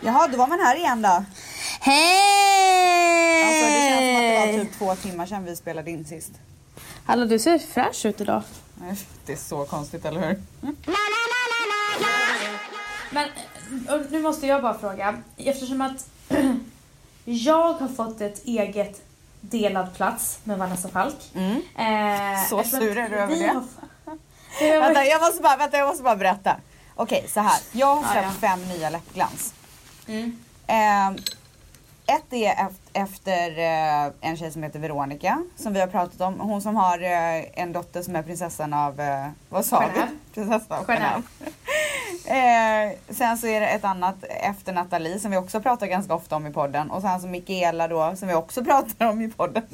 Jaha, då var man här igen då. Alltså, Hej! Alltså, det känns som att det var typ två timmar sedan vi spelade in sist. Hallå, du ser fräsch ut idag. Det är så konstigt, eller hur? Men och nu måste jag bara fråga. Eftersom att jag har fått ett eget delad plats med Vanessa Falk. Mm. Eh, Så eftersom sur är du vi över det. har- Det har Vänta, varit- jag måste bara, vänta, jag måste bara berätta. Okej, så här. Jag har Ah, köpt ja. fem nya läppglans. Mm. Ehm, ett är eft- efter eh, en tjej som heter Veronica som vi har pratat om. Hon som har eh, en dotter som är prinsessan av, eh, vad sa Genève. vi? Prinsessan av Genève. Genève. Eh, sen så är det ett annat efter Nathalie som vi också pratar ganska ofta om i podden. Och sen så Mikaela då som vi också pratar om i podden.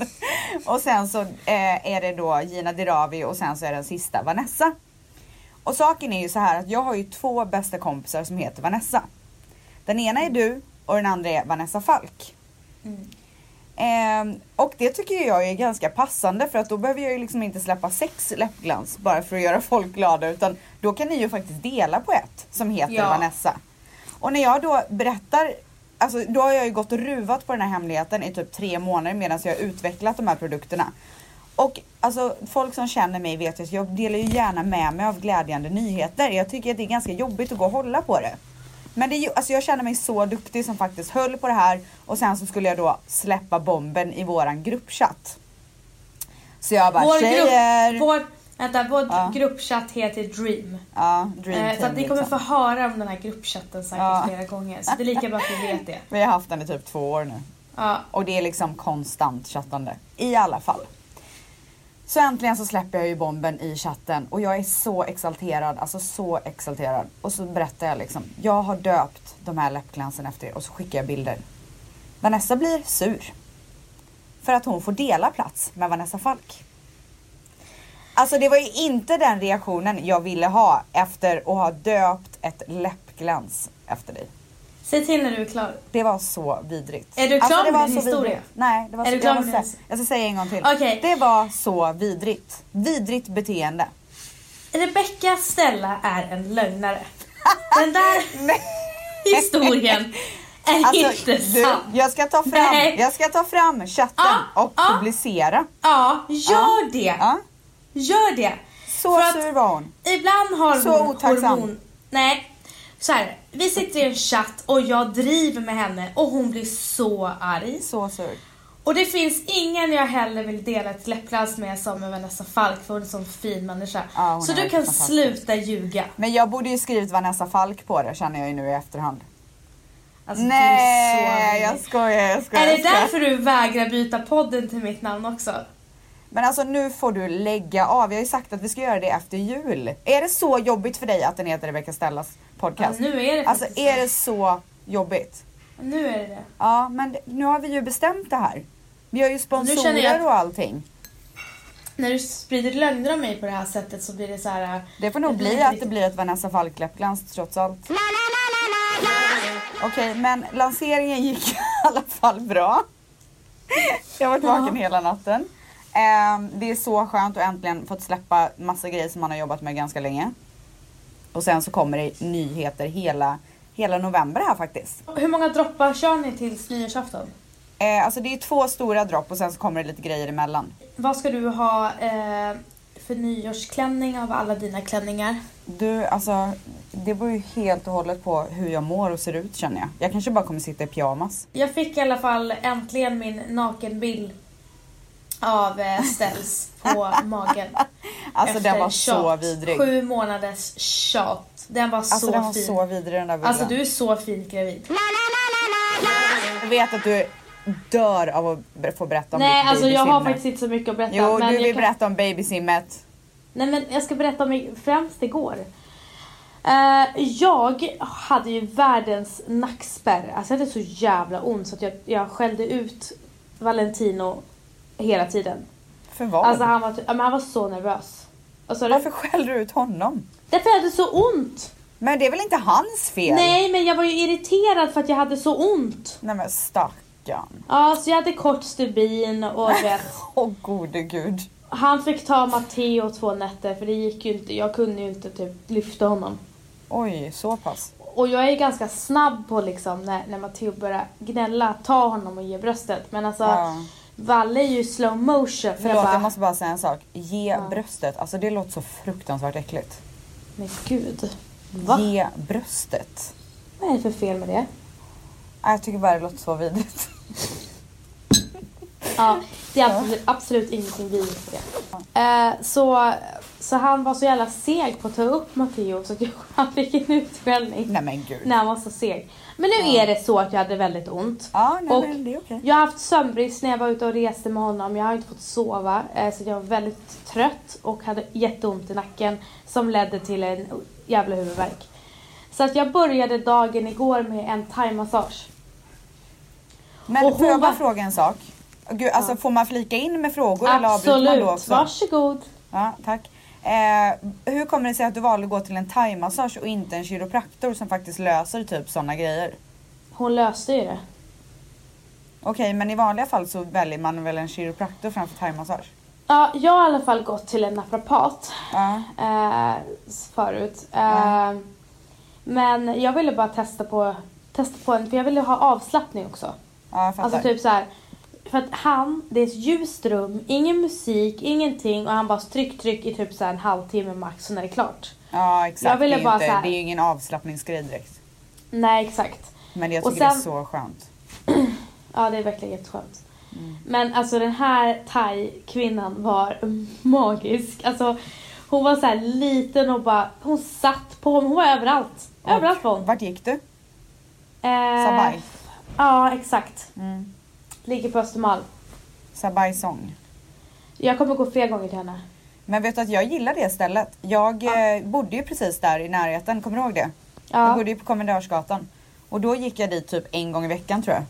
och sen så eh, är det då Gina Dirawi och sen så är den sista Vanessa. Och saken är ju så här att jag har ju två bästa kompisar som heter Vanessa. Den ena är du och den andra är Vanessa Falk. Mm. Ehm, och det tycker ju jag är ganska passande för att då behöver jag ju liksom inte släppa sex läppglans bara för att göra folk glada utan då kan ni ju faktiskt dela på ett som heter Ja. Vanessa. Och när jag då berättar, alltså då har jag ju gått och ruvat på den här hemligheten i typ tre månader medan jag har utvecklat de här produkterna. Och alltså folk som känner mig vet ju att jag delar ju gärna med mig av glädjande nyheter. Jag tycker att det är ganska jobbigt att gå och hålla på det. Men det, är ju- alltså jag känner mig så duktig som faktiskt höll på det här och sen så skulle jag då släppa bomben i våran gruppchatt. Så jag bara Vår, tjejer! grupp, vår, vänta, vår Ja. gruppchatt heter Dream. Ja, dream Eh, så att team ni kommer få liksom. höra om den här gruppchatten säkert Ja. flera gånger. Så det är lika bra att ni vet det. Vi har haft den i typ två år nu. Ja. Och det är liksom konstant chattande. I alla fall. Så äntligen så släpper jag ju bomben i chatten och jag är så exalterad, alltså så exalterad. Och så berättar jag liksom, jag har döpt de här läppglansen efter er och så skickar jag bilder. Vanessa blir sur. För att hon får dela plats med Vanessa Falk. Alltså det var ju inte den reaktionen jag ville ha efter att ha döpt ett läppglans efter dig. Säg till när du är klar. Det var så vidrigt. Alltså, Är du klar det med var din så historia? Vidrigt. Nej, det var Är så, du klar jag, med måste, din- säga- jag ska säga en gång till. Okej. Det var så vidrigt. Vidrigt beteende. Rebecca Stella är en lögnare. Den där historien är inte Alltså, du, sann. jag ska ta fram, Nej. jag ska ta fram chatten Ah, och ah. publicera. Ja, gör det. Ja. Gör det. Så För att- sur var hon. Ibland har Så hon otacksam. hormon... Nej. Så här, vi sitter i en chatt och jag driver med henne och hon blir så arg. Så sur. Och det finns ingen jag heller vill dela ett läppglans med som med Vanessa Falk för hon är en sån fin människa. Ja, hon så är du kan fantastisk. sluta ljuga. Men jag borde ju skrivit Vanessa Falk på det känner jag ju nu i efterhand. Alltså, du är så Nej, vidrig. jag skojar, jag skojar. Är det jag skojar. därför du vägrar byta podden till mitt namn också? Men alltså nu får du lägga av. Jag har ju sagt att vi ska göra det efter jul. Är det så jobbigt för dig att den heter Rebecca Stellas Ja, podcast? nu är det Alltså faktiskt är det så jobbigt? Nu är det det. Ja, men det- nu har vi ju bestämt det här. Vi har ju Nu känner jag sponsorer att- och allting. När du sprider lögner om mig på det här sättet så blir det så här. eh, Det får nog Jag bli vet att inte det blir ett Vanessa Falk läppglans trots allt. Okej, men lanseringen gick i alla fall bra. Jag har varit vaken hela natten. Ehm, det är så skönt att äntligen fått släppa massa grejer som man har jobbat med ganska länge. Och sen så kommer det nyheter hela, hela november här faktiskt. Hur många droppar kör ni tills nyårsafton? Eh, alltså det är två stora dropp och sen så kommer det lite grejer emellan. Vad ska du ha eh, för nyårsklänning av alla dina klänningar? Du, alltså det beror ju helt och hållet på hur jag mår och ser ut känner jag. Jag kanske bara kommer sitta i pyjamas. Jag fick i alla fall äntligen min nakenbild av eh, ställs på magen. Alltså den Efter var så tjat. vidrig. Sju månaders tjat. Den var Alltså så den var fin. så vidrig den där bilden. Alltså du är så fint gravid. Jag vet att du dör av att ber- få berätta om Nej ditt alltså jag har babysinne. faktiskt inte så mycket att berätta. Jo, du jag vill kan- berätta om babysimmet. Nej men jag ska berätta om mig- främst igår. Eh, jag hade ju världens nackspärr. Alltså jag hade så jävla ont så att jag, jag skällde ut Valentino hela tiden. För vad? Alltså han var, ty- ja, men han var så nervös. Alltså, Varför skäller du ut honom? Därför jag hade så ont. Men det är väl inte hans fel? Nej men jag var ju irriterad för att jag hade så ont. Nej men stackarn. Ja så jag hade kort stubin och du vet. Åh gode gud. Han fick ta Matteo två nätter för det gick ju inte. Jag kunde ju inte typ lyfta honom. Oj, så pass. Och jag är ganska snabb på liksom när, när Matteo börjar gnälla, ta honom och ge bröstet. Men alltså Ja. Valle är ju i slow motion. Förlåt, jag bara, jag måste bara säga en sak. Ge Ja. bröstet. Alltså det låter så fruktansvärt äckligt. men gud. Va? Ge bröstet. Vad är det för fel med det? Nej, Jag tycker bara det låter så vidrigt. Ja, det är absolut, absolut ingenting vi för det. Eh, så, så han var så jävla seg på att ta upp Matteo så att jag, han fick en utskällning Nej men gud. när han var så seg. Men nu är det så att jag hade väldigt ont. Ja, nej, Och- men det är okej. Jag har haft sömnbrist när jag var ute och reste med honom. Jag har inte fått sova eh, så jag var väldigt trött och hade jätteont i nacken som ledde till en jävla huvudvärk. Så att jag började dagen igår med en thaimassage. Men och får hon jag bara var- fråga en sak? Gud, alltså, Får man flika in med frågor eller avbryter man då Absolut, också? varsågod. Ja, tack. Eh, hur kommer det sig att du valde att gå till en thaimassage och inte en kiropraktor som faktiskt löser typ sådana grejer? Hon löste ju det. Okej, men i vanliga fall så väljer man väl en kiropraktor framför thaimassage? Ja, jag har i alla fall gått till en naprapat Ja. eh, förut. Eh, Ja. Men jag ville bara testa på, testa på en, för jag ville ha avslappning också. Ja, jag fattar. Alltså typ så här. För att han, det är ett ljust rum, ingen musik, ingenting och han bara tryck, tryck i typ så här en halvtimme max och när det är klart. ja, exakt. jag ville det, är bara inte, så här- det är ju ingen avslappningsgrej direkt. Nej exakt. Men jag Och tycker det är sen- så skönt. Ja det är verkligen jätteskönt. Mm. Men alltså den här thai-kvinnan var magisk. Alltså hon var så här liten och bara, hon satt på honom, hon var överallt. Överallt var hon. Vart gick du? Eh, Sabaj? Ja exakt. Mm. Ligger på Östermalm. Sabaj sång. Jag kommer gå fler gånger till henne. Men vet du att jag gillar det stället? Jag eh, bodde ju precis där i närheten, kommer du ihåg det? Jag Ja. bodde ju på Kommendörsgatan. Och då gick jag dit typ en gång i veckan tror jag.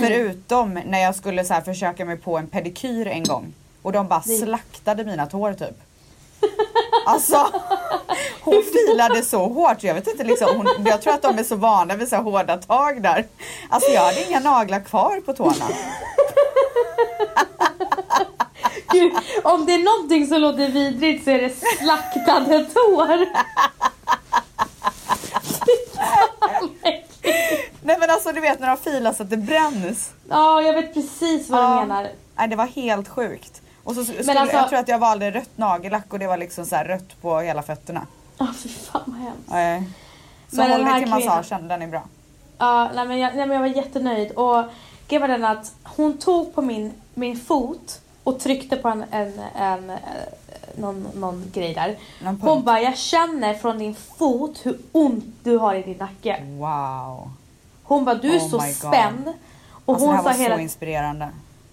Förutom när jag skulle så här försöka mig på en pedikyr en gång. Och de bara Det- slaktade mina tår typ. Alltså hon filade så hårt. Jag vet inte liksom, hon, jag tror att de är så vana vid så här hårda tag där. Alltså jag hade inga naglar kvar på tårna. Gud, om det är någonting som låter vidrigt så är det slaktade tår. Fy fan, vad äckligt. Nej men alltså du vet när de filar så att det bränns. Ja, jag vet precis vad du Ja. menar. Nej det var helt sjukt. Och så skulle, alltså- jag tror att jag valde rött nagellack och det var liksom så här rött på hela fötterna. Ja, fy fan vad hemskt. Nej. Så Men den håll dig här till kvinnan- massagen, den är bra. Ja, nej, men jag, nej, men jag var jättenöjd och grejen var den att hon tog på min, min fot och tryckte på en, en, en, eh, någon, någon grej där. Någon Hon punkt. bara, jag känner från din fot hur ont du har i din nacke. Wow. Hon bara, du är Oh så my God. spänd. Och Alltså, det hon här sa var hela så inspirerande.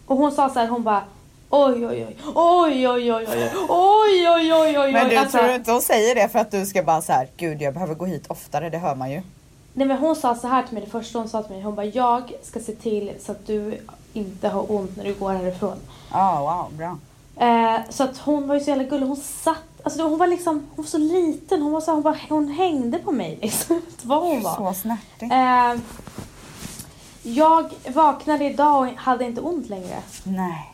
Och hon sa så här, hon bara oj oj oj oj oj oj oj oj oj oj oj Men oj du, alltså, tror du inte hon säger det för att du ska bara så här, gud jag behöver gå hit oftare, det hör man ju. Nej men hon sa så här till mig, det första hon sa till mig, hon bara jag ska se till så att du inte har ont när du går härifrån. Ja, wow, bra. Eh, så att hon var ju så jävla gullig, hon satt, alltså hon var liksom, hon var så liten, hon var så hon, bara, hon hängde på mig liksom. Jag vet inte Vad hon var. Så snärtigt. Eh, jag vaknade idag och hade inte ont längre. Nej.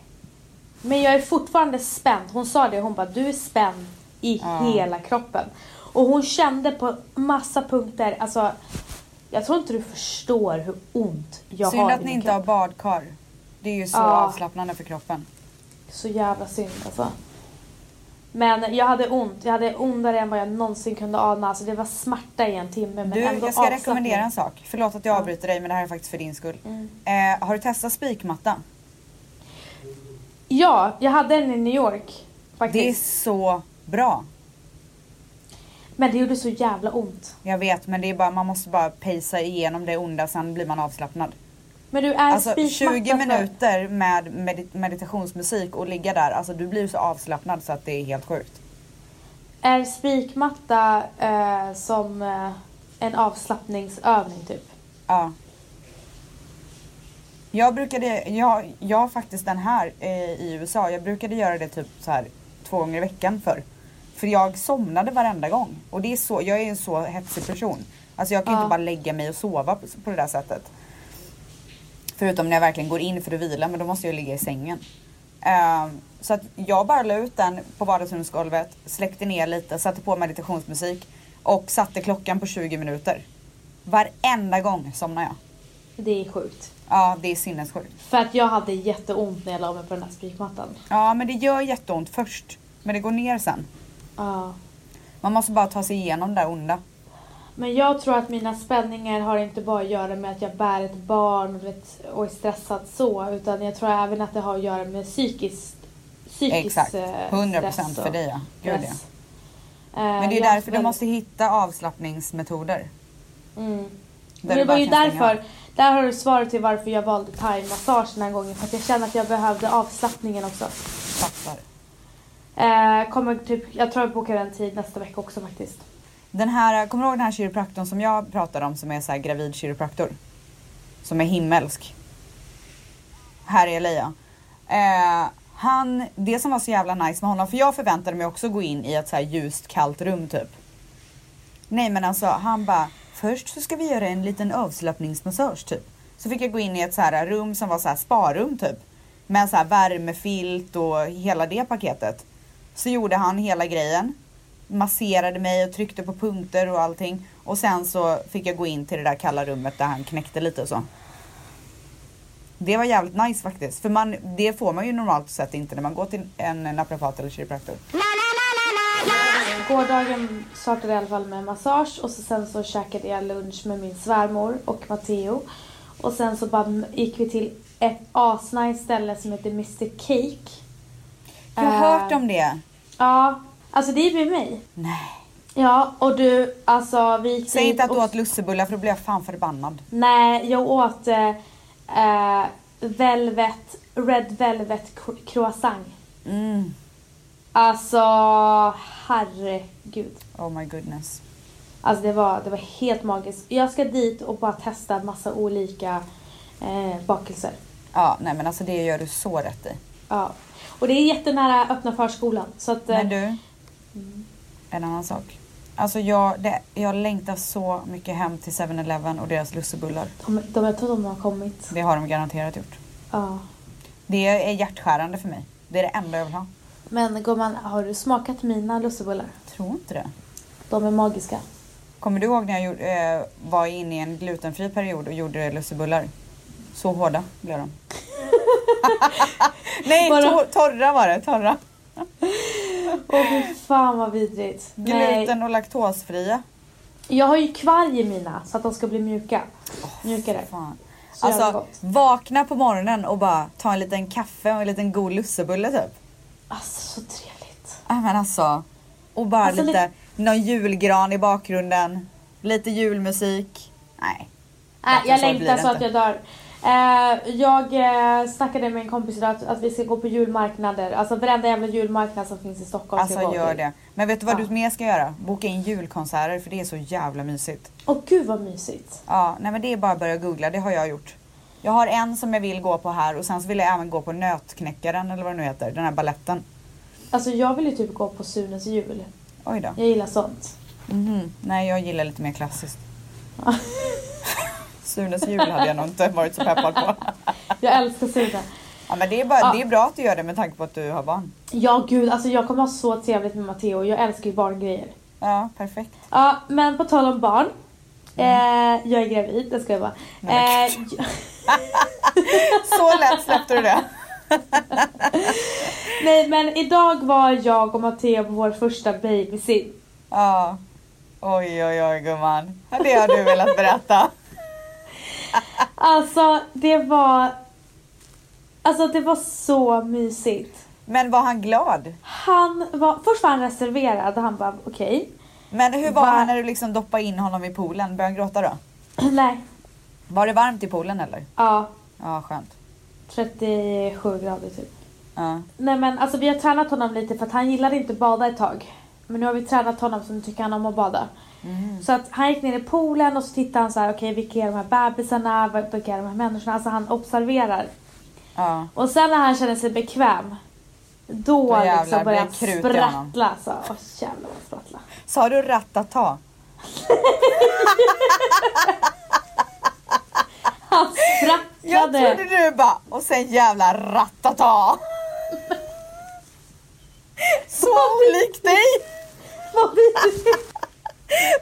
Men jag är fortfarande spänd. Hon sa det, hon bara du är spänd i Ja. hela kroppen. Och hon kände på massa punkter, alltså jag tror inte du förstår hur ont jag Synd har i att ni min inte kropp. har badkar. Det är ju så Ja. avslappnande för kroppen. Så jävla synd alltså. Men jag hade ont, jag hade ondare än vad jag någonsin kunde ana. Alltså det var smärta i en timme men Du, ändå jag ska avslappning. rekommendera en sak. Förlåt att jag Ja. avbryter dig men det här är faktiskt för din skull. Mm. Eh, har du testat spikmatta? Ja, jag hade en i New York Det är faktiskt. så bra. Men det gjorde så jävla ont. Jag vet men det är bara, man måste bara pacea igenom det onda sen blir man avslappnad. Men du är Alltså spikmatta 20 för- minuter med medi- meditationsmusik och ligga där, alltså du blir så avslappnad så att det är helt sjukt. Är spikmatta eh, som eh, en avslappningsövning typ? Ja. Jag brukade, jag, jag har faktiskt den här eh, i USA, jag brukade göra det typ så här två gånger i veckan förr. För jag somnade varenda gång. Och det är så, jag är en så hetsig person. Alltså jag kan ju Ja. inte bara lägga mig och sova på, på det där sättet. Förutom när jag verkligen går in för att vila, men då måste jag ju ligga i sängen. Ehm, så att jag bara la ut den på vardagsrumsgolvet, släckte ner lite, satte på meditationsmusik och satte klockan på 20 minuter. Varenda gång somnade jag. Det är sjukt. Ja, det är sinnessjukt. För att jag hade jätteont när jag la mig på den här spikmattan. Ja, men det gör jätteont först. Men det går ner sen. Ja. Man måste bara ta sig igenom det där onda. Men jag tror att mina spänningar har inte bara att göra med att jag bär ett barn och, du vet, och är stressad så. Utan jag tror även att det har att göra med psykiskt psykisk Exakt. eh, 100 stress procent och för dig ja. Gud, ja. stress. Men det är Eh, ju jag har därför du väldigt- måste hitta avslappningsmetoder. Mm. Där Men det du var bara ju kan stänga av. därför, där har du svaret till varför jag valde thaimassage den här gången. För att jag kände att jag behövde avslappningen också. Fattar. Eh, kommer typ, jag tror jag bokar en tid nästa vecka också faktiskt. Den här, kommer du ihåg den här kiropraktorn som jag pratade om som är så här gravid kiropraktor? Som är himmelsk. Här är Leia. Eh, han, det som var så jävla nice med honom, för jag förväntade mig också gå in i ett så här ljust kallt rum typ. Nej men alltså han bara, först så ska vi göra en liten avslappningsmassage typ. Så fick jag gå in i ett så här rum som var så här sparum typ. Med så här värmefilt och hela det paketet. Så gjorde han hela grejen. Masserade mig och tryckte på punkter och allting. Och sen så fick jag gå in till det där kalla rummet där han knäckte lite och så. Det var jävligt nice faktiskt. För man, det får man ju normalt sett inte när man går till en naprapat eller kiropraktor. Gårdagen startade i alla fall med massage och så sen så käkade jag lunch med min svärmor och Matteo. Och sen så bara gick vi till ett asnice ställe som heter Mr Cake. Jag har Eh, hört om det. Ja, alltså det är med mig. Nej. Ja, och du, alltså vi gick Säg dit inte att du och- åt lussebullar för då blir jag fan förbannad. Nej, jag åt eh, eh, velvet, red velvet cro- croissant. Mm. Alltså, herregud. Oh my goodness. Alltså det var, det var helt magiskt. Jag ska dit och bara testa massa olika eh, bakelser. Ja, nej men alltså det gör du så rätt i. Ja. Och det är jättenära öppna förskolan. Så att, eh, Men du, en annan sak. Alltså jag, det, jag längtar så mycket hem till 7-Eleven och deras lussebullar. eh, de, de, jag tror de har kommit. Det har de garanterat gjort. Ja. Det är hjärtskärande för mig. Det är det enda jag vill ha. Men gumman, har du smakat mina lussebullar? Tror inte det. De är magiska. Kommer du ihåg när jag gjorde, eh, var inne i en glutenfri period och gjorde lussebullar? Så hårda blev de. Nej, Bara- tor- torra var det. Torra. Åh fy fan vad vidrigt. Nej. Gluten och laktosfria. Jag har ju kvarg i mina så att de ska bli mjuka. Mjukare. Fan. Så jävla Alltså gott. vakna på morgonen och bara ta en liten kaffe och en liten god lussebulle typ. Alltså så trevligt. Nej men alltså. Och bara Alltså, lite, någon julgran i bakgrunden. Lite julmusik. Nej. Nej, Bättre Äh, jag så blir längtar det så att inte. jag dör. Eh, jag eh, snackade med en kompis idag att, att vi ska gå på julmarknader. Alltså varenda jävla julmarknad som finns i Stockholm Alltså ska jag gå gör till. det. Men vet du vad Ja. du mer ska göra? Boka in julkonserter för det är så jävla mysigt. Åh gud vad mysigt. Ja, nej men det är bara att börja googla, det har jag gjort. Jag har en som jag vill gå på här och sen så vill jag även gå på Nötknäckaren eller vad det nu heter, den här balletten. Alltså jag vill ju typ gå på Sunes jul. Oj då. Jag gillar sånt. Mhm. Nej, jag gillar lite mer klassiskt. Sunes jul hade jag nog inte varit så peppad på. Jag älskar Sune. Ja, men det, är bara, Ja. det är bra att du gör det med tanke på att du har barn. Ja gud, alltså jag kommer ha så trevligt med Matteo. Jag älskar ju barngrejer. Ja, perfekt. Ja, men på tal om barn. Eh, jag är gravid, det ska jag bara. Mm. Nej, Eh, jag- Så lätt släppte du det. nej men idag var jag och Matteo på vår första babysit. Ja. Oj, oj, oj gumman. Det har du velat berätta. Alltså det var... Alltså det var så mysigt. Men var han glad? Han var, först var han reserverad och han bara okej. Men hur var Va- han när du liksom doppade in honom i poolen? Började han gråta då? Nej, Var det varmt i poolen eller? ja. Ja, skönt. 37 grader typ. Ja. Nej men alltså vi har tränat honom lite för att han gillade inte att bada ett tag. Men nu har vi tränat honom så nu tycker han om att bada. Så att han gick ner i poolen och så tittade han så här okej vilka är de här bebisarna, vilka är de här människorna. Alltså han observerar. ja. Och sen när han känner sig bekväm Då, Då jävlar liksom blir började det krut han i sprattla alltså. Åh jävlar vad han sprattlade. Sa du ratata? Han Jag trodde sprattlade. du bara, och sen jävla ratata. Så olik dig! Vad vidrigt.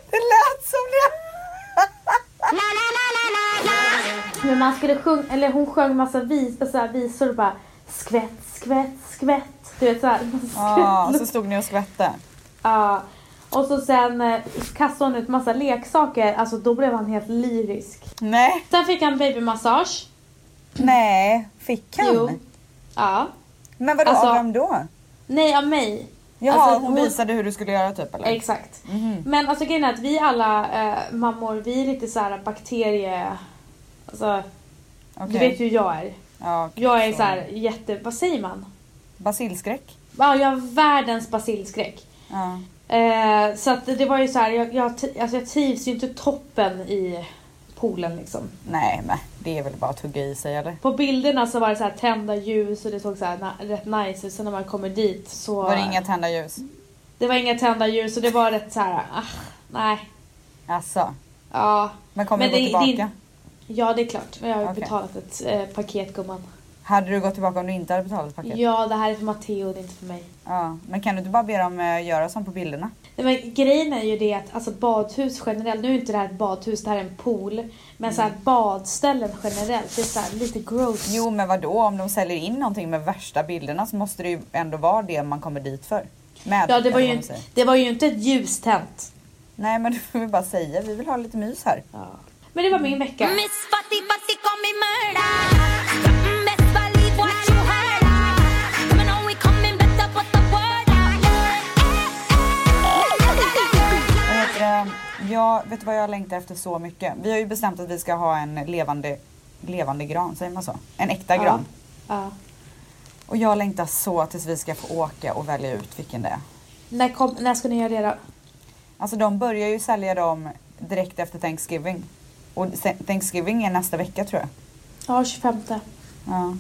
Det lät som det. Men man skulle sjunga, eller hon sjöng massa vis, så här visor och bara skvätt, skvätt, skvätt. Du vet såhär. Ja, och så stod ni och skvätte. Ja. Och så sen eh, kastade hon ut massa leksaker, alltså då blev han helt lyrisk. Nej, Sen fick han babymassage. nej, fick han? Jo. Ja. Men vadå, Alltså- av vem då? Nej, av mig. Jaha, Alltså, hon hon- visade hur du skulle göra typ eller? Mhm, Exakt. Men alltså grejen är att vi alla eh, mammor, vi är lite så här bakterie... Alltså, Okej. du vet ju hur jag är. Ja, okej, Jag är så här jätte... Vad säger man? Basilskräck? Ja, jag har världens basilskräck. Ja. Eh, så att det var ju så här, jag, jag, tri- alltså jag trivs ju inte toppen i poolen liksom. Nej, men det är väl bara att hugga i sig eller? På bilderna så var det så här tända ljus och det såg så här na- rätt nice ut. Sen när man kommer dit så... Var det inga tända ljus? det var inga tända ljus och det var rätt så här, ah, nej. Alltså, Ja, men kommer Men du gå det- tillbaka? det- ja det är klart. Jag har ju Okej. betalat ett eh, paket gumman. Hade du gått tillbaka om du inte hade betalat paket? Ja, det här är för Matteo, det är inte för mig. Ja, men kan du inte bara be dem eh, göra som på bilderna? Nej, men grejen är ju det att alltså, badhus generellt, nu är inte det här ett badhus, det här är en pool. Men så här, badställen generellt, det är så här, lite gross. Mm. Jo, men vad då om de säljer in någonting med värsta bilderna så måste det ju ändå vara det man kommer dit för. Med, ja, det eller var, vad ju, man inte- säger. det var ju inte ett ljus tänt. Nej, men du får vi bara säga. Vi vill ha lite mys här. Ja. Men det var min vecka. Mm. Miss Fatty Fatty call me murder. Something best believe what you heard. Coming on, we coming better, put the word out. Vad heter det? Jag vet du vad jag längtar efter så mycket? Vi har ju bestämt att vi ska ha en levande, levande gran, säger man så? En äkta Ja. gran. Ja. Och jag längtar så tills vi ska få åka och välja ut vilken det är. När, kom, när ska ni göra det då? Alltså de börjar ju sälja dem direkt efter Thanksgiving. Och se- Thanksgiving är nästa vecka tror jag. Ja, 25. Ja.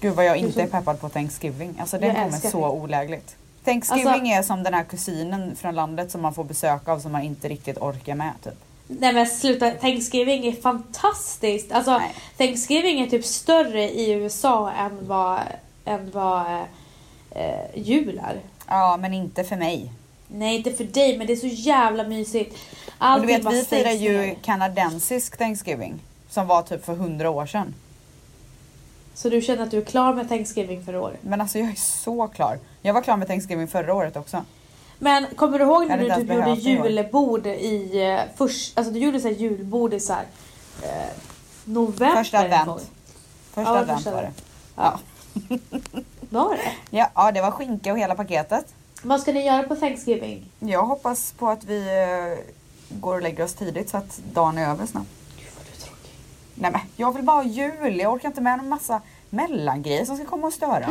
Gud vad jag inte Det är är så- peppad på Thanksgiving. Alltså det Jag kommer älskar så det. olägligt. Thanksgiving Alltså- är som den här kusinen från landet som man får besök av som man inte riktigt orkar med typ. Nej men sluta, Thanksgiving är fantastiskt. Alltså Nej. Thanksgiving är typ större i USA än vad, än vad eh, jul är. Ja men inte för mig. Nej inte för dig men det är så jävla mysigt. Och du vet bara vi stängs firar ju ner. kanadensisk Thanksgiving. Som var typ för hundra år sedan. Så du känner att du är klar med Thanksgiving för i år. Men alltså jag är så klar. Jag var klar med Thanksgiving förra året också. Men kommer du ihåg när hade du inte typ ens gjorde behövt det i år. julbord i eh, först, alltså du gjorde så här julbord i så här, eh, november? Första någon gång. advent. Första Ja, advent första var det. advent. Ja. Var det? Ja, ja, det var skinka och hela paketet. Vad ska ni göra på Thanksgiving? Jag hoppas på att vi eh, går och lägger oss tidigt så att dagen är över snabbt. Gud vad du är tråkig. Nej men jag vill bara ha jul, jag orkar inte med en massa mellangrejer som ska komma och störa.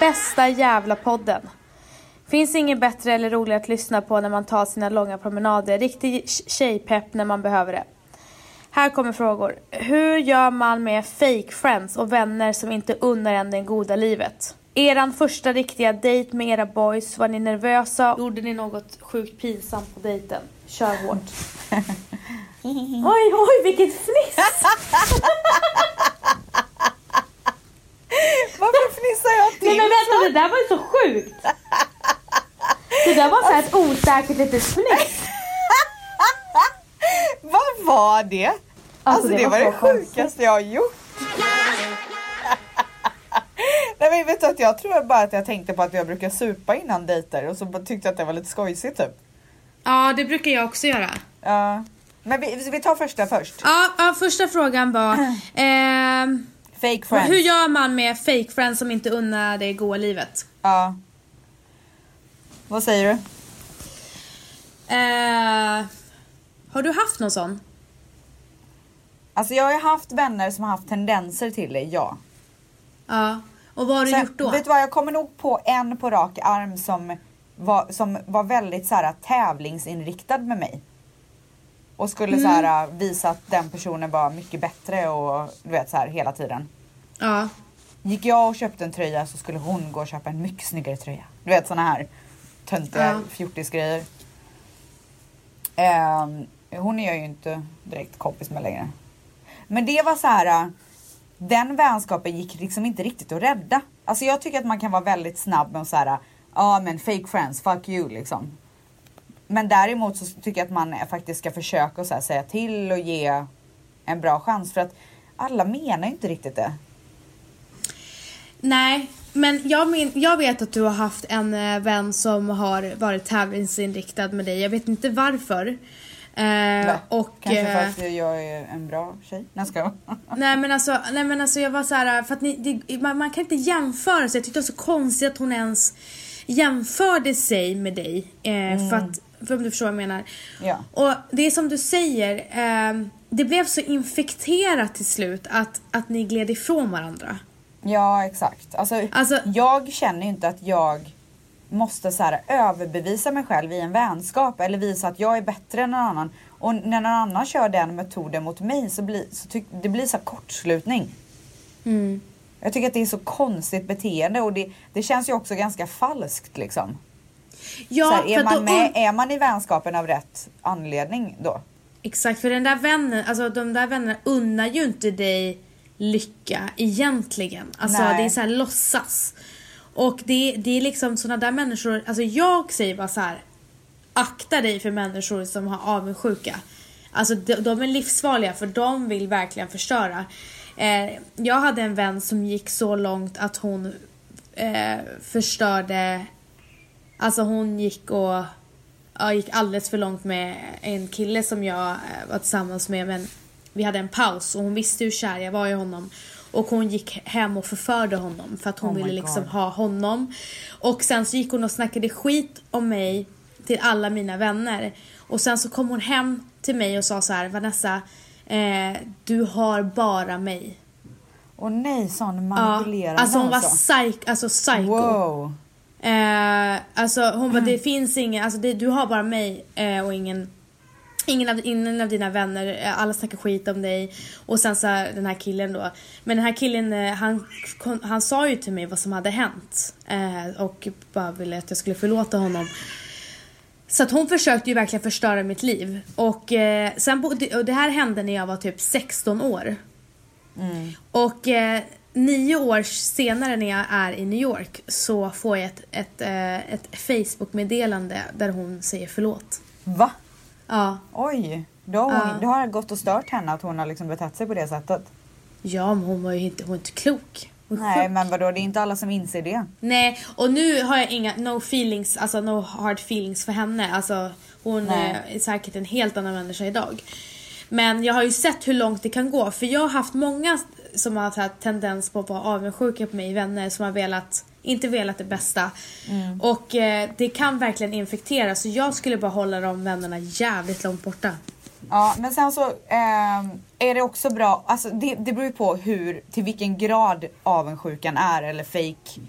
Bästa jävla podden. Finns inget bättre eller roligare att lyssna på när man tar sina långa promenader. Riktig tjejpepp när man behöver det. Här kommer frågor. Hur gör man med fake friends och vänner som inte unnar en det goda livet? Eran första riktiga dejt med era boys, var ni nervösa? Gjorde ni något sjukt pinsamt på dejten? Kör hårt. oj, oj, vilket fniss! Varför fnissar jag Nej till? men vänta, det där var ju så sjukt! Det där var så här ett osäkert litet Alltså, fniss. Vad var det? Alltså, det, var, det så konstigt. sjukaste jag har gjort. Nej men vet du att jag tror bara att jag tänkte på att jag brukar supa innan dejter och så bara tyckte jag att det var lite skojsigt typ. Ja, det brukar jag också göra. Ja. men vi, vi tar första först. Ja, ja första frågan var... ehm, Fake friends. hur gör man med fake friends som inte unnar det goa livet? Ja. Vad säger du? Eh, har du haft någon sån? Alltså jag har ju haft vänner som har haft tendenser till det, ja. Ja. Och vad har du gjort då? vet du vad, jag kommer nog på en på rak arm som var, som var väldigt så här, tävlingsinriktad med mig. Och skulle så här, Mm. visa att den personen var mycket bättre och du vet så här hela tiden. Ja. Gick jag och köpte en tröja så skulle hon gå och köpa en mycket snyggare tröja. Du vet såna här töntiga Ja. fjortisgrejer. Ehm, hon är jag ju inte direkt kompis med längre. Men det var så här. äh, Den vänskapen gick liksom inte riktigt att rädda. Alltså jag tycker att man kan vara väldigt snabb med att så här. Ja ah, men fake friends, fuck you liksom. Men däremot så tycker jag att man faktiskt ska försöka och så här säga till och ge en bra chans för att alla menar ju inte riktigt det. Nej, men jag, min- jag vet att du har haft en eh, vän som har varit tävlingsinriktad med dig. Jag vet inte varför. Eh, och, Kanske för eh, att jag är en bra tjej. Nej ska jag. Nej men alltså, nej men alltså jag var så här, för att ni, det, man, man kan inte jämföra så jag tyckte det var så konstigt att hon ens jämförde sig med dig. Eh, för att, för om du förstår vad jag menar. Mm. Ja. Och det är som du säger, eh, det blev så infekterat till slut att, att ni gled ifrån varandra. Ja exakt. Alltså, Alltså- jag känner ju inte att jag måste så här överbevisa mig själv i en vänskap eller visa att jag är bättre än någon annan. Och när någon annan kör den metoden mot mig så blir så tyck, det blir så här kortslutning. Mm. Jag tycker att det är så konstigt beteende och det, det känns ju också ganska falskt liksom. Ja, så här, är, för man att då- med, är man i vänskapen av rätt anledning då? Exakt, för den där vännen, alltså de där vännerna unnar ju inte dig lycka egentligen. Alltså Nej. det är så här låtsas. Och det, det är liksom sådana där människor, alltså jag säger bara så här. Akta dig för människor som har avundsjuka. Alltså de, de är livsfarliga för de vill verkligen förstöra. Eh, jag hade en vän som gick så långt att hon eh, förstörde Alltså hon gick och ja, gick alldeles för långt med en kille som jag eh, var tillsammans med men vi hade en paus och hon visste hur kär jag var i honom och hon gick hem och förförde honom för att hon Oh my ville liksom God. ha honom. Och sen så gick hon och snackade skit om mig till alla mina vänner och sen så kom hon hem till mig och sa så här Vanessa eh, du har bara mig. Och nej sån Ja, manipulerande alltså hon var psyk, alltså psycho. Wow. Eh, alltså hon bara, det finns ingen, alltså det, du har bara mig eh, och ingen Ingen av, ingen av dina vänner, eh, alla snackar skit om dig. Och sen så här, den här killen då. Men den här killen, eh, han, kon- han sa ju till mig vad som hade hänt. Eh, och bara ville att jag skulle förlåta honom. Så att hon försökte ju verkligen förstöra mitt liv. Och, eh, sen, bo- och det här hände när jag var typ 16 år. Och eh, nio år senare när jag är i New York så får jag ett, ett, eh, ett Facebook-meddelande där hon säger förlåt. Va? Ja, Oj. Då har, hon, Ja. då har det gått och stört henne att hon har liksom betett sig på det sättet. ja men hon var ju inte, hon var inte klok. Hon var Nej sjuk. men vadå det är inte alla som inser det. Nej, och nu har jag inga no feelings, alltså no hard feelings för henne. Alltså hon Nej. eh, är säkert en helt annan människa idag. Men jag har ju sett hur långt det kan gå för jag har haft många som har haft här tendens på att vara avundsjuka på mig, vänner som har velat, inte velat det bästa. Och eh, det kan verkligen infektera så jag skulle bara hålla de vännerna jävligt långt borta. Ja men sen så ehm, är det också bra, alltså det, det beror ju på hur, till vilken grad avundsjukan är eller fake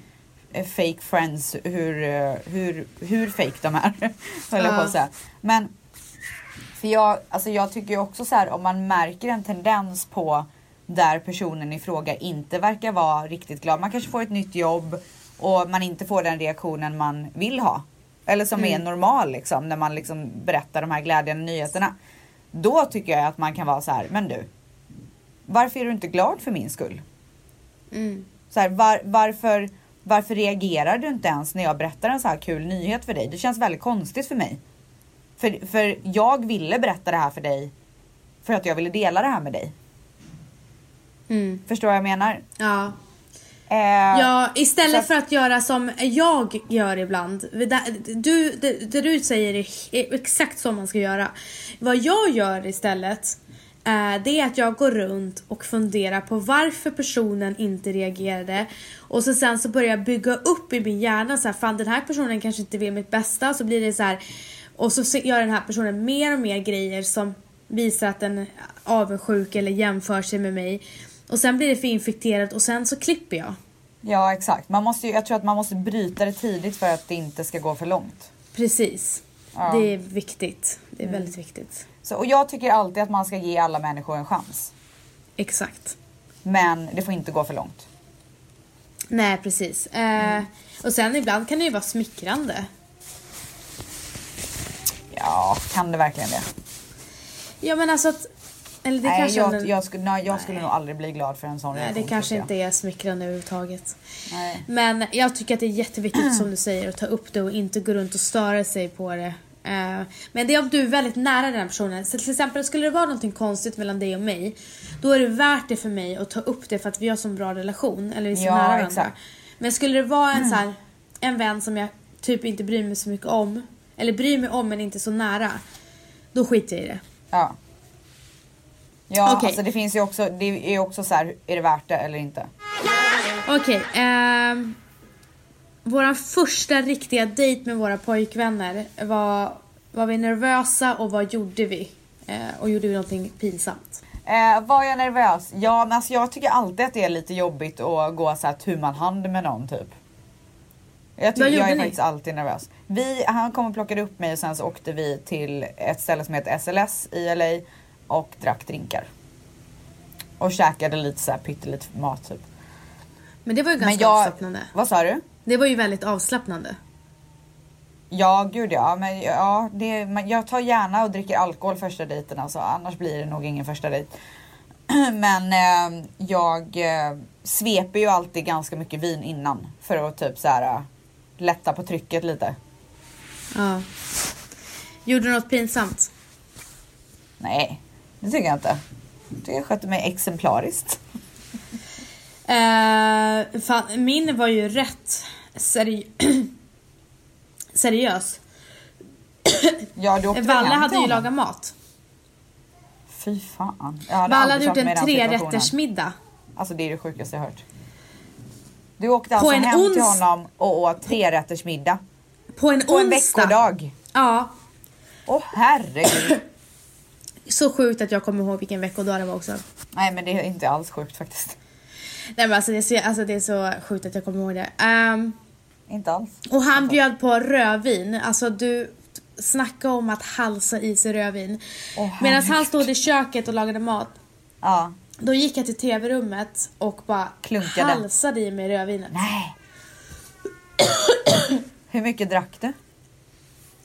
eh, fake friends, hur, eh, hur, hur fake de är. höll jag på Ja. att säga. Men För jag, alltså jag tycker ju också så här om man märker en tendens på där personen i fråga inte verkar vara riktigt glad. Man kanske får ett nytt jobb och man inte får den reaktionen man vill ha. Eller som är normal liksom när man liksom berättar de här glädjande nyheterna. Då tycker jag att man kan vara så här, men du. Varför är du inte glad för min skull? Så här, var, varför, varför reagerar du inte ens när jag berättar en så här kul nyhet för dig? Det känns väldigt konstigt för mig. För, för jag ville berätta det här för dig för att jag ville dela det här med dig. Förstår vad jag menar? Ja, Eh, Mm. Ja, Så istället att- för att göra som jag gör ibland. Där- Du, det, det du säger är exakt så man ska göra. Vad jag gör istället, eh, det är att jag går runt och funderar på varför personen inte reagerade. Och så sen så börjar jag bygga upp i min hjärna så här, fan den här personen kanske inte vill mitt bästa. Så blir det så här, och så se- gör den här personen mer och mer grejer som visar att den är avundsjuk eller jämför sig med mig. Och sen blir det för infekterat och sen så klipper jag. ja, exakt. Man måste ju, jag tror att man måste bryta det tidigt för att det inte ska gå för långt. Precis. Ja. Mm. Det är viktigt. Det är väldigt viktigt. Så, och jag tycker alltid att man ska ge alla människor en chans. Exakt. Men det får inte gå för långt. Nej, precis. Eh, Mm. Och sen ibland kan det ju vara smickrande. Ja, kan det verkligen det? Ja, men alltså att... Eller det nej, kanske... jag, ändå- jag, skulle, nej, jag skulle nog aldrig bli glad för en sån Nej, det reaktion, kanske tror jag. inte är smickrande överhuvudtaget. Nej. Mm. Men jag tycker att det är jätteviktigt som du säger att ta upp det och inte gå runt och störa sig på det. Eh, Men det är om du är väldigt nära den här personen. Så till exempel skulle det vara någonting konstigt mellan dig och mig. Då är det värt det för mig att ta upp det för att vi har så bra relation. Eller vi är så Ja, nära varandra. exakt. Mm. Men skulle det vara en, så här, en vän som jag typ inte bryr mig så mycket om. Eller bryr mig om men inte så nära. Då skiter jag i det. Ja. Ja, Okej. alltså det finns ju också, det är också så här, är det värt det eller inte? Okej. ehm, vår första riktiga dejt med våra pojkvänner var, var vi nervösa och vad gjorde vi? Eh, och gjorde vi någonting pinsamt? Eh, var jag nervös? Ja, men alltså jag tycker alltid att det är lite jobbigt att gå så här tu man hand med någon typ. Jag, Vad tycker, jag gjorde är ni? faktiskt alltid nervös. Vi, han kom och plockade upp mig och sen så åkte vi till ett ställe som heter SLS i LA och drack drinkar. Och käkade lite så här pyttelite mat typ. Men det var ju ganska jag, avslappnande. Vad sa du? Det var ju väldigt avslappnande. Ja, gud ja. Men, ja det, man, jag tar gärna och dricker alkohol första dejten alltså, annars blir det nog ingen första dejt. Men eh, jag eh, sveper ju alltid ganska mycket vin innan för att typ så här eh, lätta på trycket lite. Ja. Gjorde du något pinsamt? Nej, det tycker jag inte. Jag tycker jag skötte mig exemplariskt. Eh, fan, min var ju rätt seri seriös. Ja, du åkte väl Valle hem hade till ju honom? lagat mat. Fy fan. Jag hade Valle aldrig hade gjort satt mig i den en situationen. trerättersmiddag. Alltså det är det sjukaste jag hört. Du åkte alltså en hem till ons- honom och åt trerättersmiddag. På en På en onsdag. veckodag. Ja, Åh herregud. Så sjukt att jag kommer ihåg vilken veckodag det var också. Nej men det är inte alls sjukt faktiskt. Nej men alltså det är så, alltså det är så sjukt att jag kommer ihåg det. Ehm, Inte alls. och han bjöd på rödvin. Alltså du, snacka om att halsa i sig rödvin. Åh, Medan han herregud. stod i köket och lagade mat. Ja. Då gick jag till tv-rummet och bara Klunkade. halsade i mig rödvinet. Nej. Hur mycket drack du?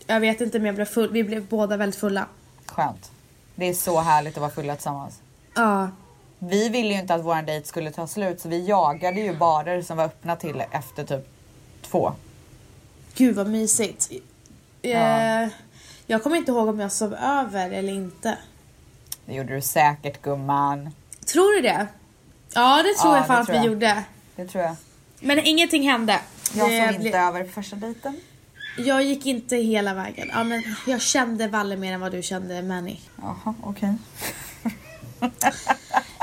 Jag vet inte men jag blev full. Vi blev båda väldigt fulla. Skönt. Det är så härligt att vara fulla tillsammans. Ja. Vi ville ju inte att våran dejt skulle ta slut så vi jagade ju barer som var öppna till efter typ två. Gud vad mysigt. Eh, jag kommer inte ihåg om jag sov över eller inte. Det gjorde du säkert gumman. Tror du det? Ja det tror Ja, jag fan det att tror vi jag. gjorde. Det tror jag. Men ingenting hände. Jag Det såg blev- inte över på första dejten. jag gick inte hela vägen. Ja, men jag kände Valle mer än vad du kände Manny. Jaha okej.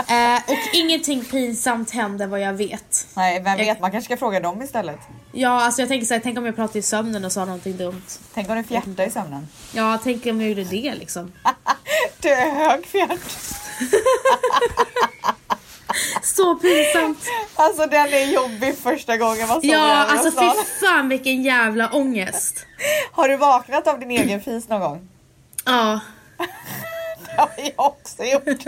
Eh, och ingenting pinsamt hände vad jag vet. Nej vem Jag- vet man kanske ska fråga dem istället. Ja, alltså jag tänker så här, tänk om jag pratade i sömnen och sa någonting dumt. Tänk om du fjärtar i sömnen. Ja, tänk om jag gjorde det liksom. Du är hög fjärt. Så pinsamt! Alltså den är jobbig första gången man sover Ja, över alltså hos någon. fy fan vilken jävla ångest. Har du vaknat av din egen fis någon gång? Ja, Det har jag också gjort.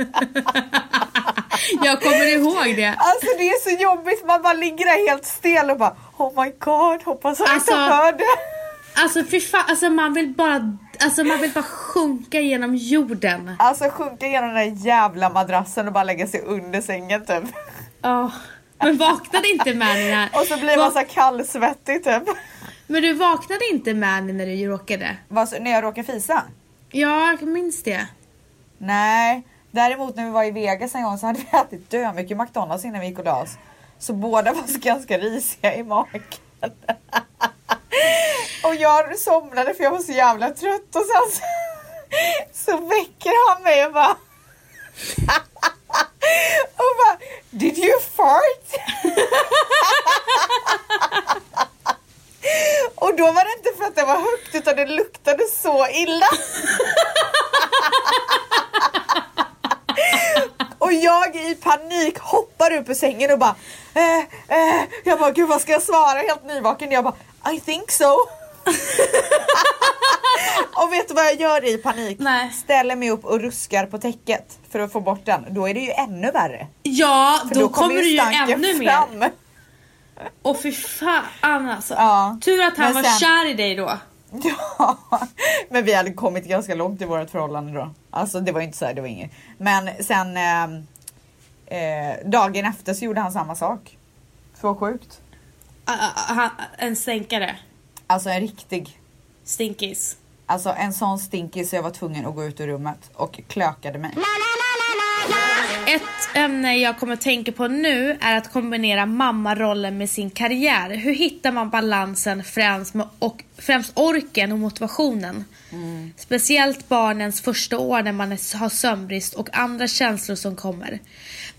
jag kommer ihåg det. Alltså det är så jobbigt, man bara ligger där helt stel och bara Oh my god, hoppas han Alltså- inte hör det. Alltså fy fan, alltså man vill bara, alltså man vill bara sjunka genom jorden. Alltså sjunka igenom den där jävla madrassen och bara lägga sig under sängen typ. Ja. Men vaknade inte Manny när... Och så blir man Vak- så här kallsvettig typ. Men du vaknade inte Manny när du råkade? Vad, så- när jag råkar fisa? Ja, jag minns det. Nej, däremot när vi var i Vegas en gång så hade vi ätit dö mycket McDonalds innan vi gick och la oss. Så båda var så ganska risiga i magen. och jag somnade för jag var så jävla trött och sen så, så väcker han mig och bara och bara Did you fart? och då var det inte för att det var högt utan det luktade så illa. Och jag i panik hoppar upp ur sängen och bara eh, eh. Jag bara gud vad ska jag svara helt nyvaken? Jag bara I think so. och vet du vad jag gör i panik? Nej. Ställer mig upp och ruskar på täcket för att få bort den. Då är det ju ännu värre. Ja, För då, kommer du ju stanken ännu mer. fram. Och fy fan alltså. Ja. Tur att han Men var sen- kär i dig då. Ja, men vi hade kommit ganska långt i vårt förhållande då. Alltså det var ju inte så här, det var inget. Men sen ehm, eh, dagen efter så gjorde han samma sak. Så sjukt. Ah, ah, ah, han- En stänkare. Alltså en riktig, Stinkis. alltså en sån stinkis så jag var tvungen att gå ut ur rummet och klökade mig. Ett ämne jag kommer att tänka på nu är att kombinera mammarollen med sin karriär. Hur hittar man balansen främst, med och, främst orken och motivationen? Speciellt barnens första år när man är, har sömnbrist och andra känslor som kommer.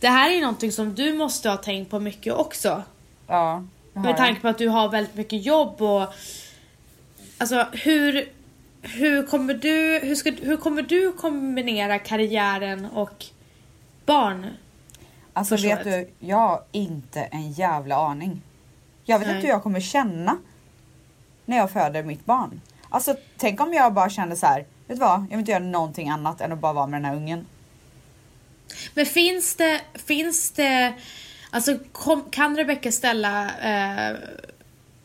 Det här är ju någonting som du måste ha tänkt på mycket också. Ja, det har Med jag. tanke på att du har väldigt mycket jobb och... Alltså hur... Hur kommer du, hur ska, hur kommer du kombinera karriären och barn? Alltså vet försvaret. du, jag har inte en jävla aning. Jag vet Nej. inte hur jag kommer känna när jag föder mitt barn. Alltså tänk om jag bara kände så här, vet du vad, jag vill inte göra någonting annat än att bara vara med den här ungen. Men finns det... Finns det alltså kom, kan Rebecca ställa eh,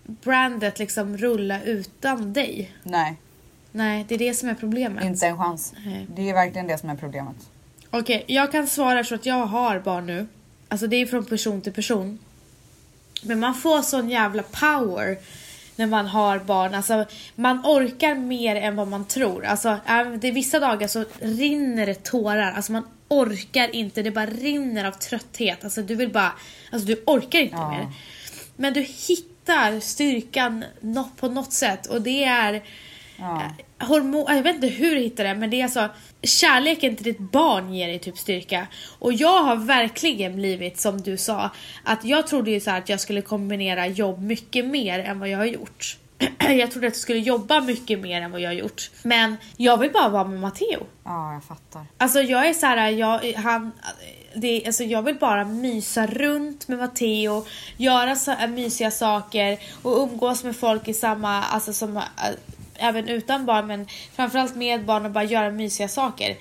brandet liksom rulla utan dig? Nej, Nej, det är det som är problemet. inte en chans. Nej. Det är verkligen det som är problemet. Okej, jag kan svara så att jag har barn nu. Alltså det är från person till person. Men man får sån jävla power när man har barn. Alltså man orkar mer än vad man tror. Alltså även- det är vissa dagar så rinner det tårar. Alltså man orkar inte, det bara rinner av trötthet. Alltså du vill bara, alltså du orkar inte Ja. mer. Men du hittar styrkan nå- på något sätt och det är Ja. Hormon, jag vet inte hur du hittar det men det är alltså kärleken till ditt barn ger dig typ styrka. Och jag har verkligen blivit som du sa, att jag trodde ju så här att jag skulle kombinera jobb mycket mer än vad jag har gjort. jag trodde att jag skulle jobba mycket mer än vad jag har gjort. Men jag vill bara vara med Matteo. Ja, jag fattar. Alltså jag är så här, jag, han, det, alltså jag vill bara mysa runt med Matteo, göra så här mysiga saker och umgås med folk i samma, alltså som, äh, även utan barn men framförallt med barn och bara göra mysiga saker.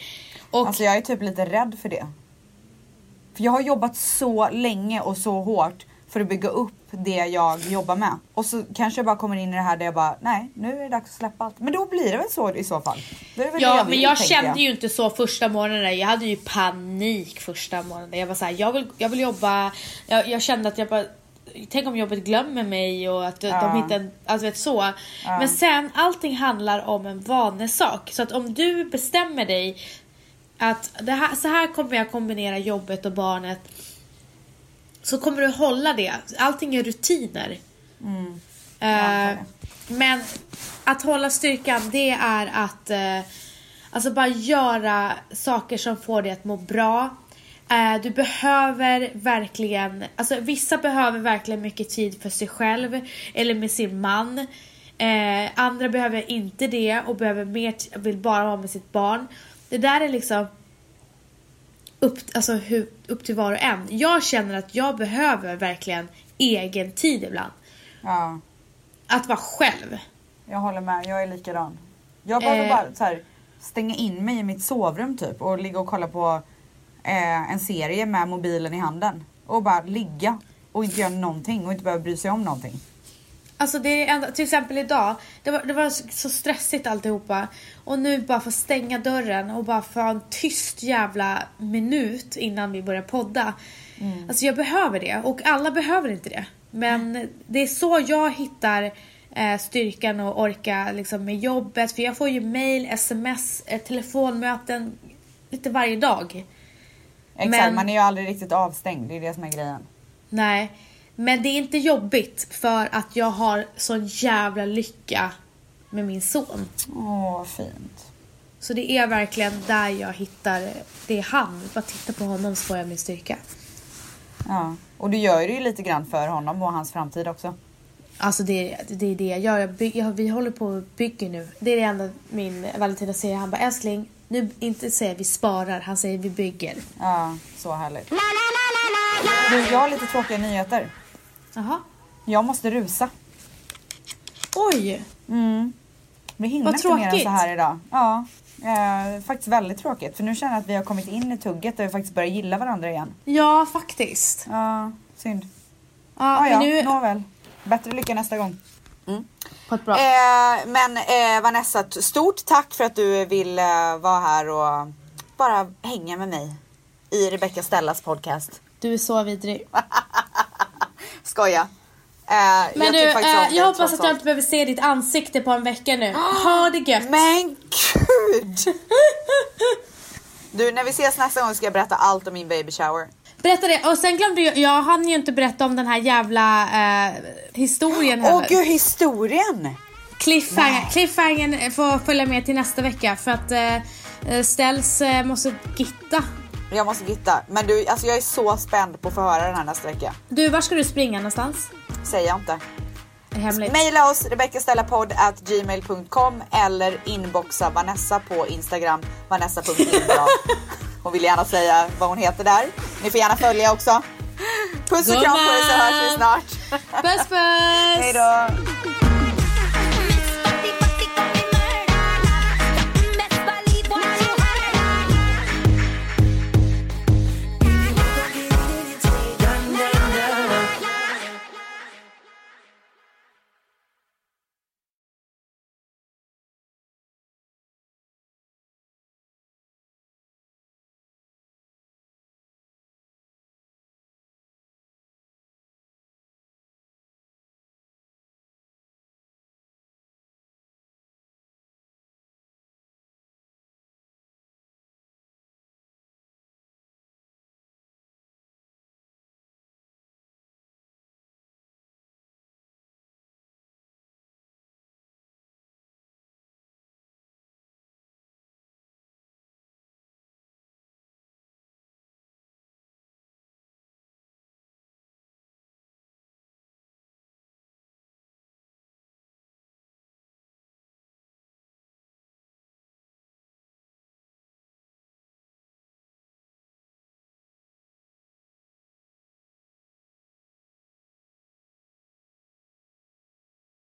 Och Alltså jag är typ lite rädd för det. För jag har jobbat så länge och så hårt för att bygga upp det jag jobbar med. Och så kanske jag bara kommer in i det här där jag bara, nej nu är det dags att släppa allt. Men då blir det väl så i så fall. Då är det väl det Ja, vill, men jag tänker kände ju inte så första månaden. Jag hade ju panik första månaden. Jag var så här, jag vill, jag vill jobba. Jag, jag kände att jag bara, tänk om jobbet glömmer mig och att de hittar en, alltså vet så. Men sen, allting handlar om en vanesak. Så att om du bestämmer dig att det här, så här kommer jag kombinera jobbet och barnet. Så kommer du hålla det. Allting är rutiner. Eh, antar men att hålla styrkan det är att eh, alltså bara göra saker som får dig att må bra. Eh, du behöver verkligen, alltså vissa behöver verkligen mycket tid för sig själv eller med sin man. Eh, andra behöver inte det och behöver mer, t- vill bara vara med sitt barn. Det där är liksom upp, alltså hur, upp till var och en. Jag känner att jag behöver verkligen egen tid ibland. Ja, Att vara själv. jag håller med. Jag är likadan. Jag behöver Eh. bara så här, stänga in mig i mitt sovrum typ och ligga och kolla på eh, en serie med mobilen i handen. Och bara ligga och inte göra någonting och inte behöva bry sig om någonting. Alltså det är enda, till exempel idag, det var, det var så stressigt alltihopa. Och nu bara få stänga dörren och bara få ha en tyst jävla minut innan vi börjar podda. Alltså jag behöver det och alla behöver inte det. Men det är så jag hittar eh, styrkan och orka liksom, med jobbet. För jag får ju mail, sms, eh, telefonmöten lite varje dag. Exakt, Men- man är ju aldrig riktigt avstängd. Det är det som är grejen. Nej, men det är inte jobbigt för att jag har sån jävla lycka med min son. Åh, vad fint. Så det är verkligen där jag hittar, det är han. Bara titta på honom så får jag min styrka. Ja. Och du gör ju det ju lite grann för honom och hans framtid också. Alltså det, det är det jag gör. Jag byg, jag, vi håller på och bygger nu. Det är det enda min Valentina säger. Han bara älskling, nu inte säger vi sparar, han säger vi bygger. Ja, så härligt. Du, jag har lite tråkiga nyheter. Jaha. Jag måste rusa. Oj! Vi hinner Vad inte mer än tråkigt. så här idag. Ja, eh, faktiskt väldigt tråkigt. För nu känner jag att vi har kommit in i tugget där vi faktiskt börjar gilla varandra igen. Ja, faktiskt. Ja, synd. Ah, ja, men nu nåväl. Bättre lycka nästa gång. på ett bra... Eh, men eh, Vanessa, t- stort tack för att du vill eh, vara här och bara hänga med mig i Rebecca Stellas podcast. Du är så vidrig. Skoja. Eh, Men tycker du, faktiskt om eh, dig, jag hoppas trots att jag allt. inte behöver se ditt ansikte på en vecka nu. Ha det gött! Men gud! Du, när vi ses nästa gång ska jag berätta allt om min baby shower. Berätta det, och sen glömde jag, jag hann ju inte berätta om den här jävla eh, historien Åh heller. gud, historien! Cliffhanger, cliffhangern eh, får följa med till nästa vecka för att eh, eh, Ställs eh, måste gitta. Jag måste gitta. Men du, alltså jag är så spänd på att få höra den här nästa vecka. Du, var ska du springa någonstans? Säger jag inte. Hemligt. Maila oss rebeckastellapodd.gmail.com eller inboxa Vanessa på Instagram, vanessa.lindblad. Hon vill gärna säga vad hon heter där. Ni får gärna följa också. Puss och kram på er så hörs vi snart. Puss puss! Hej då!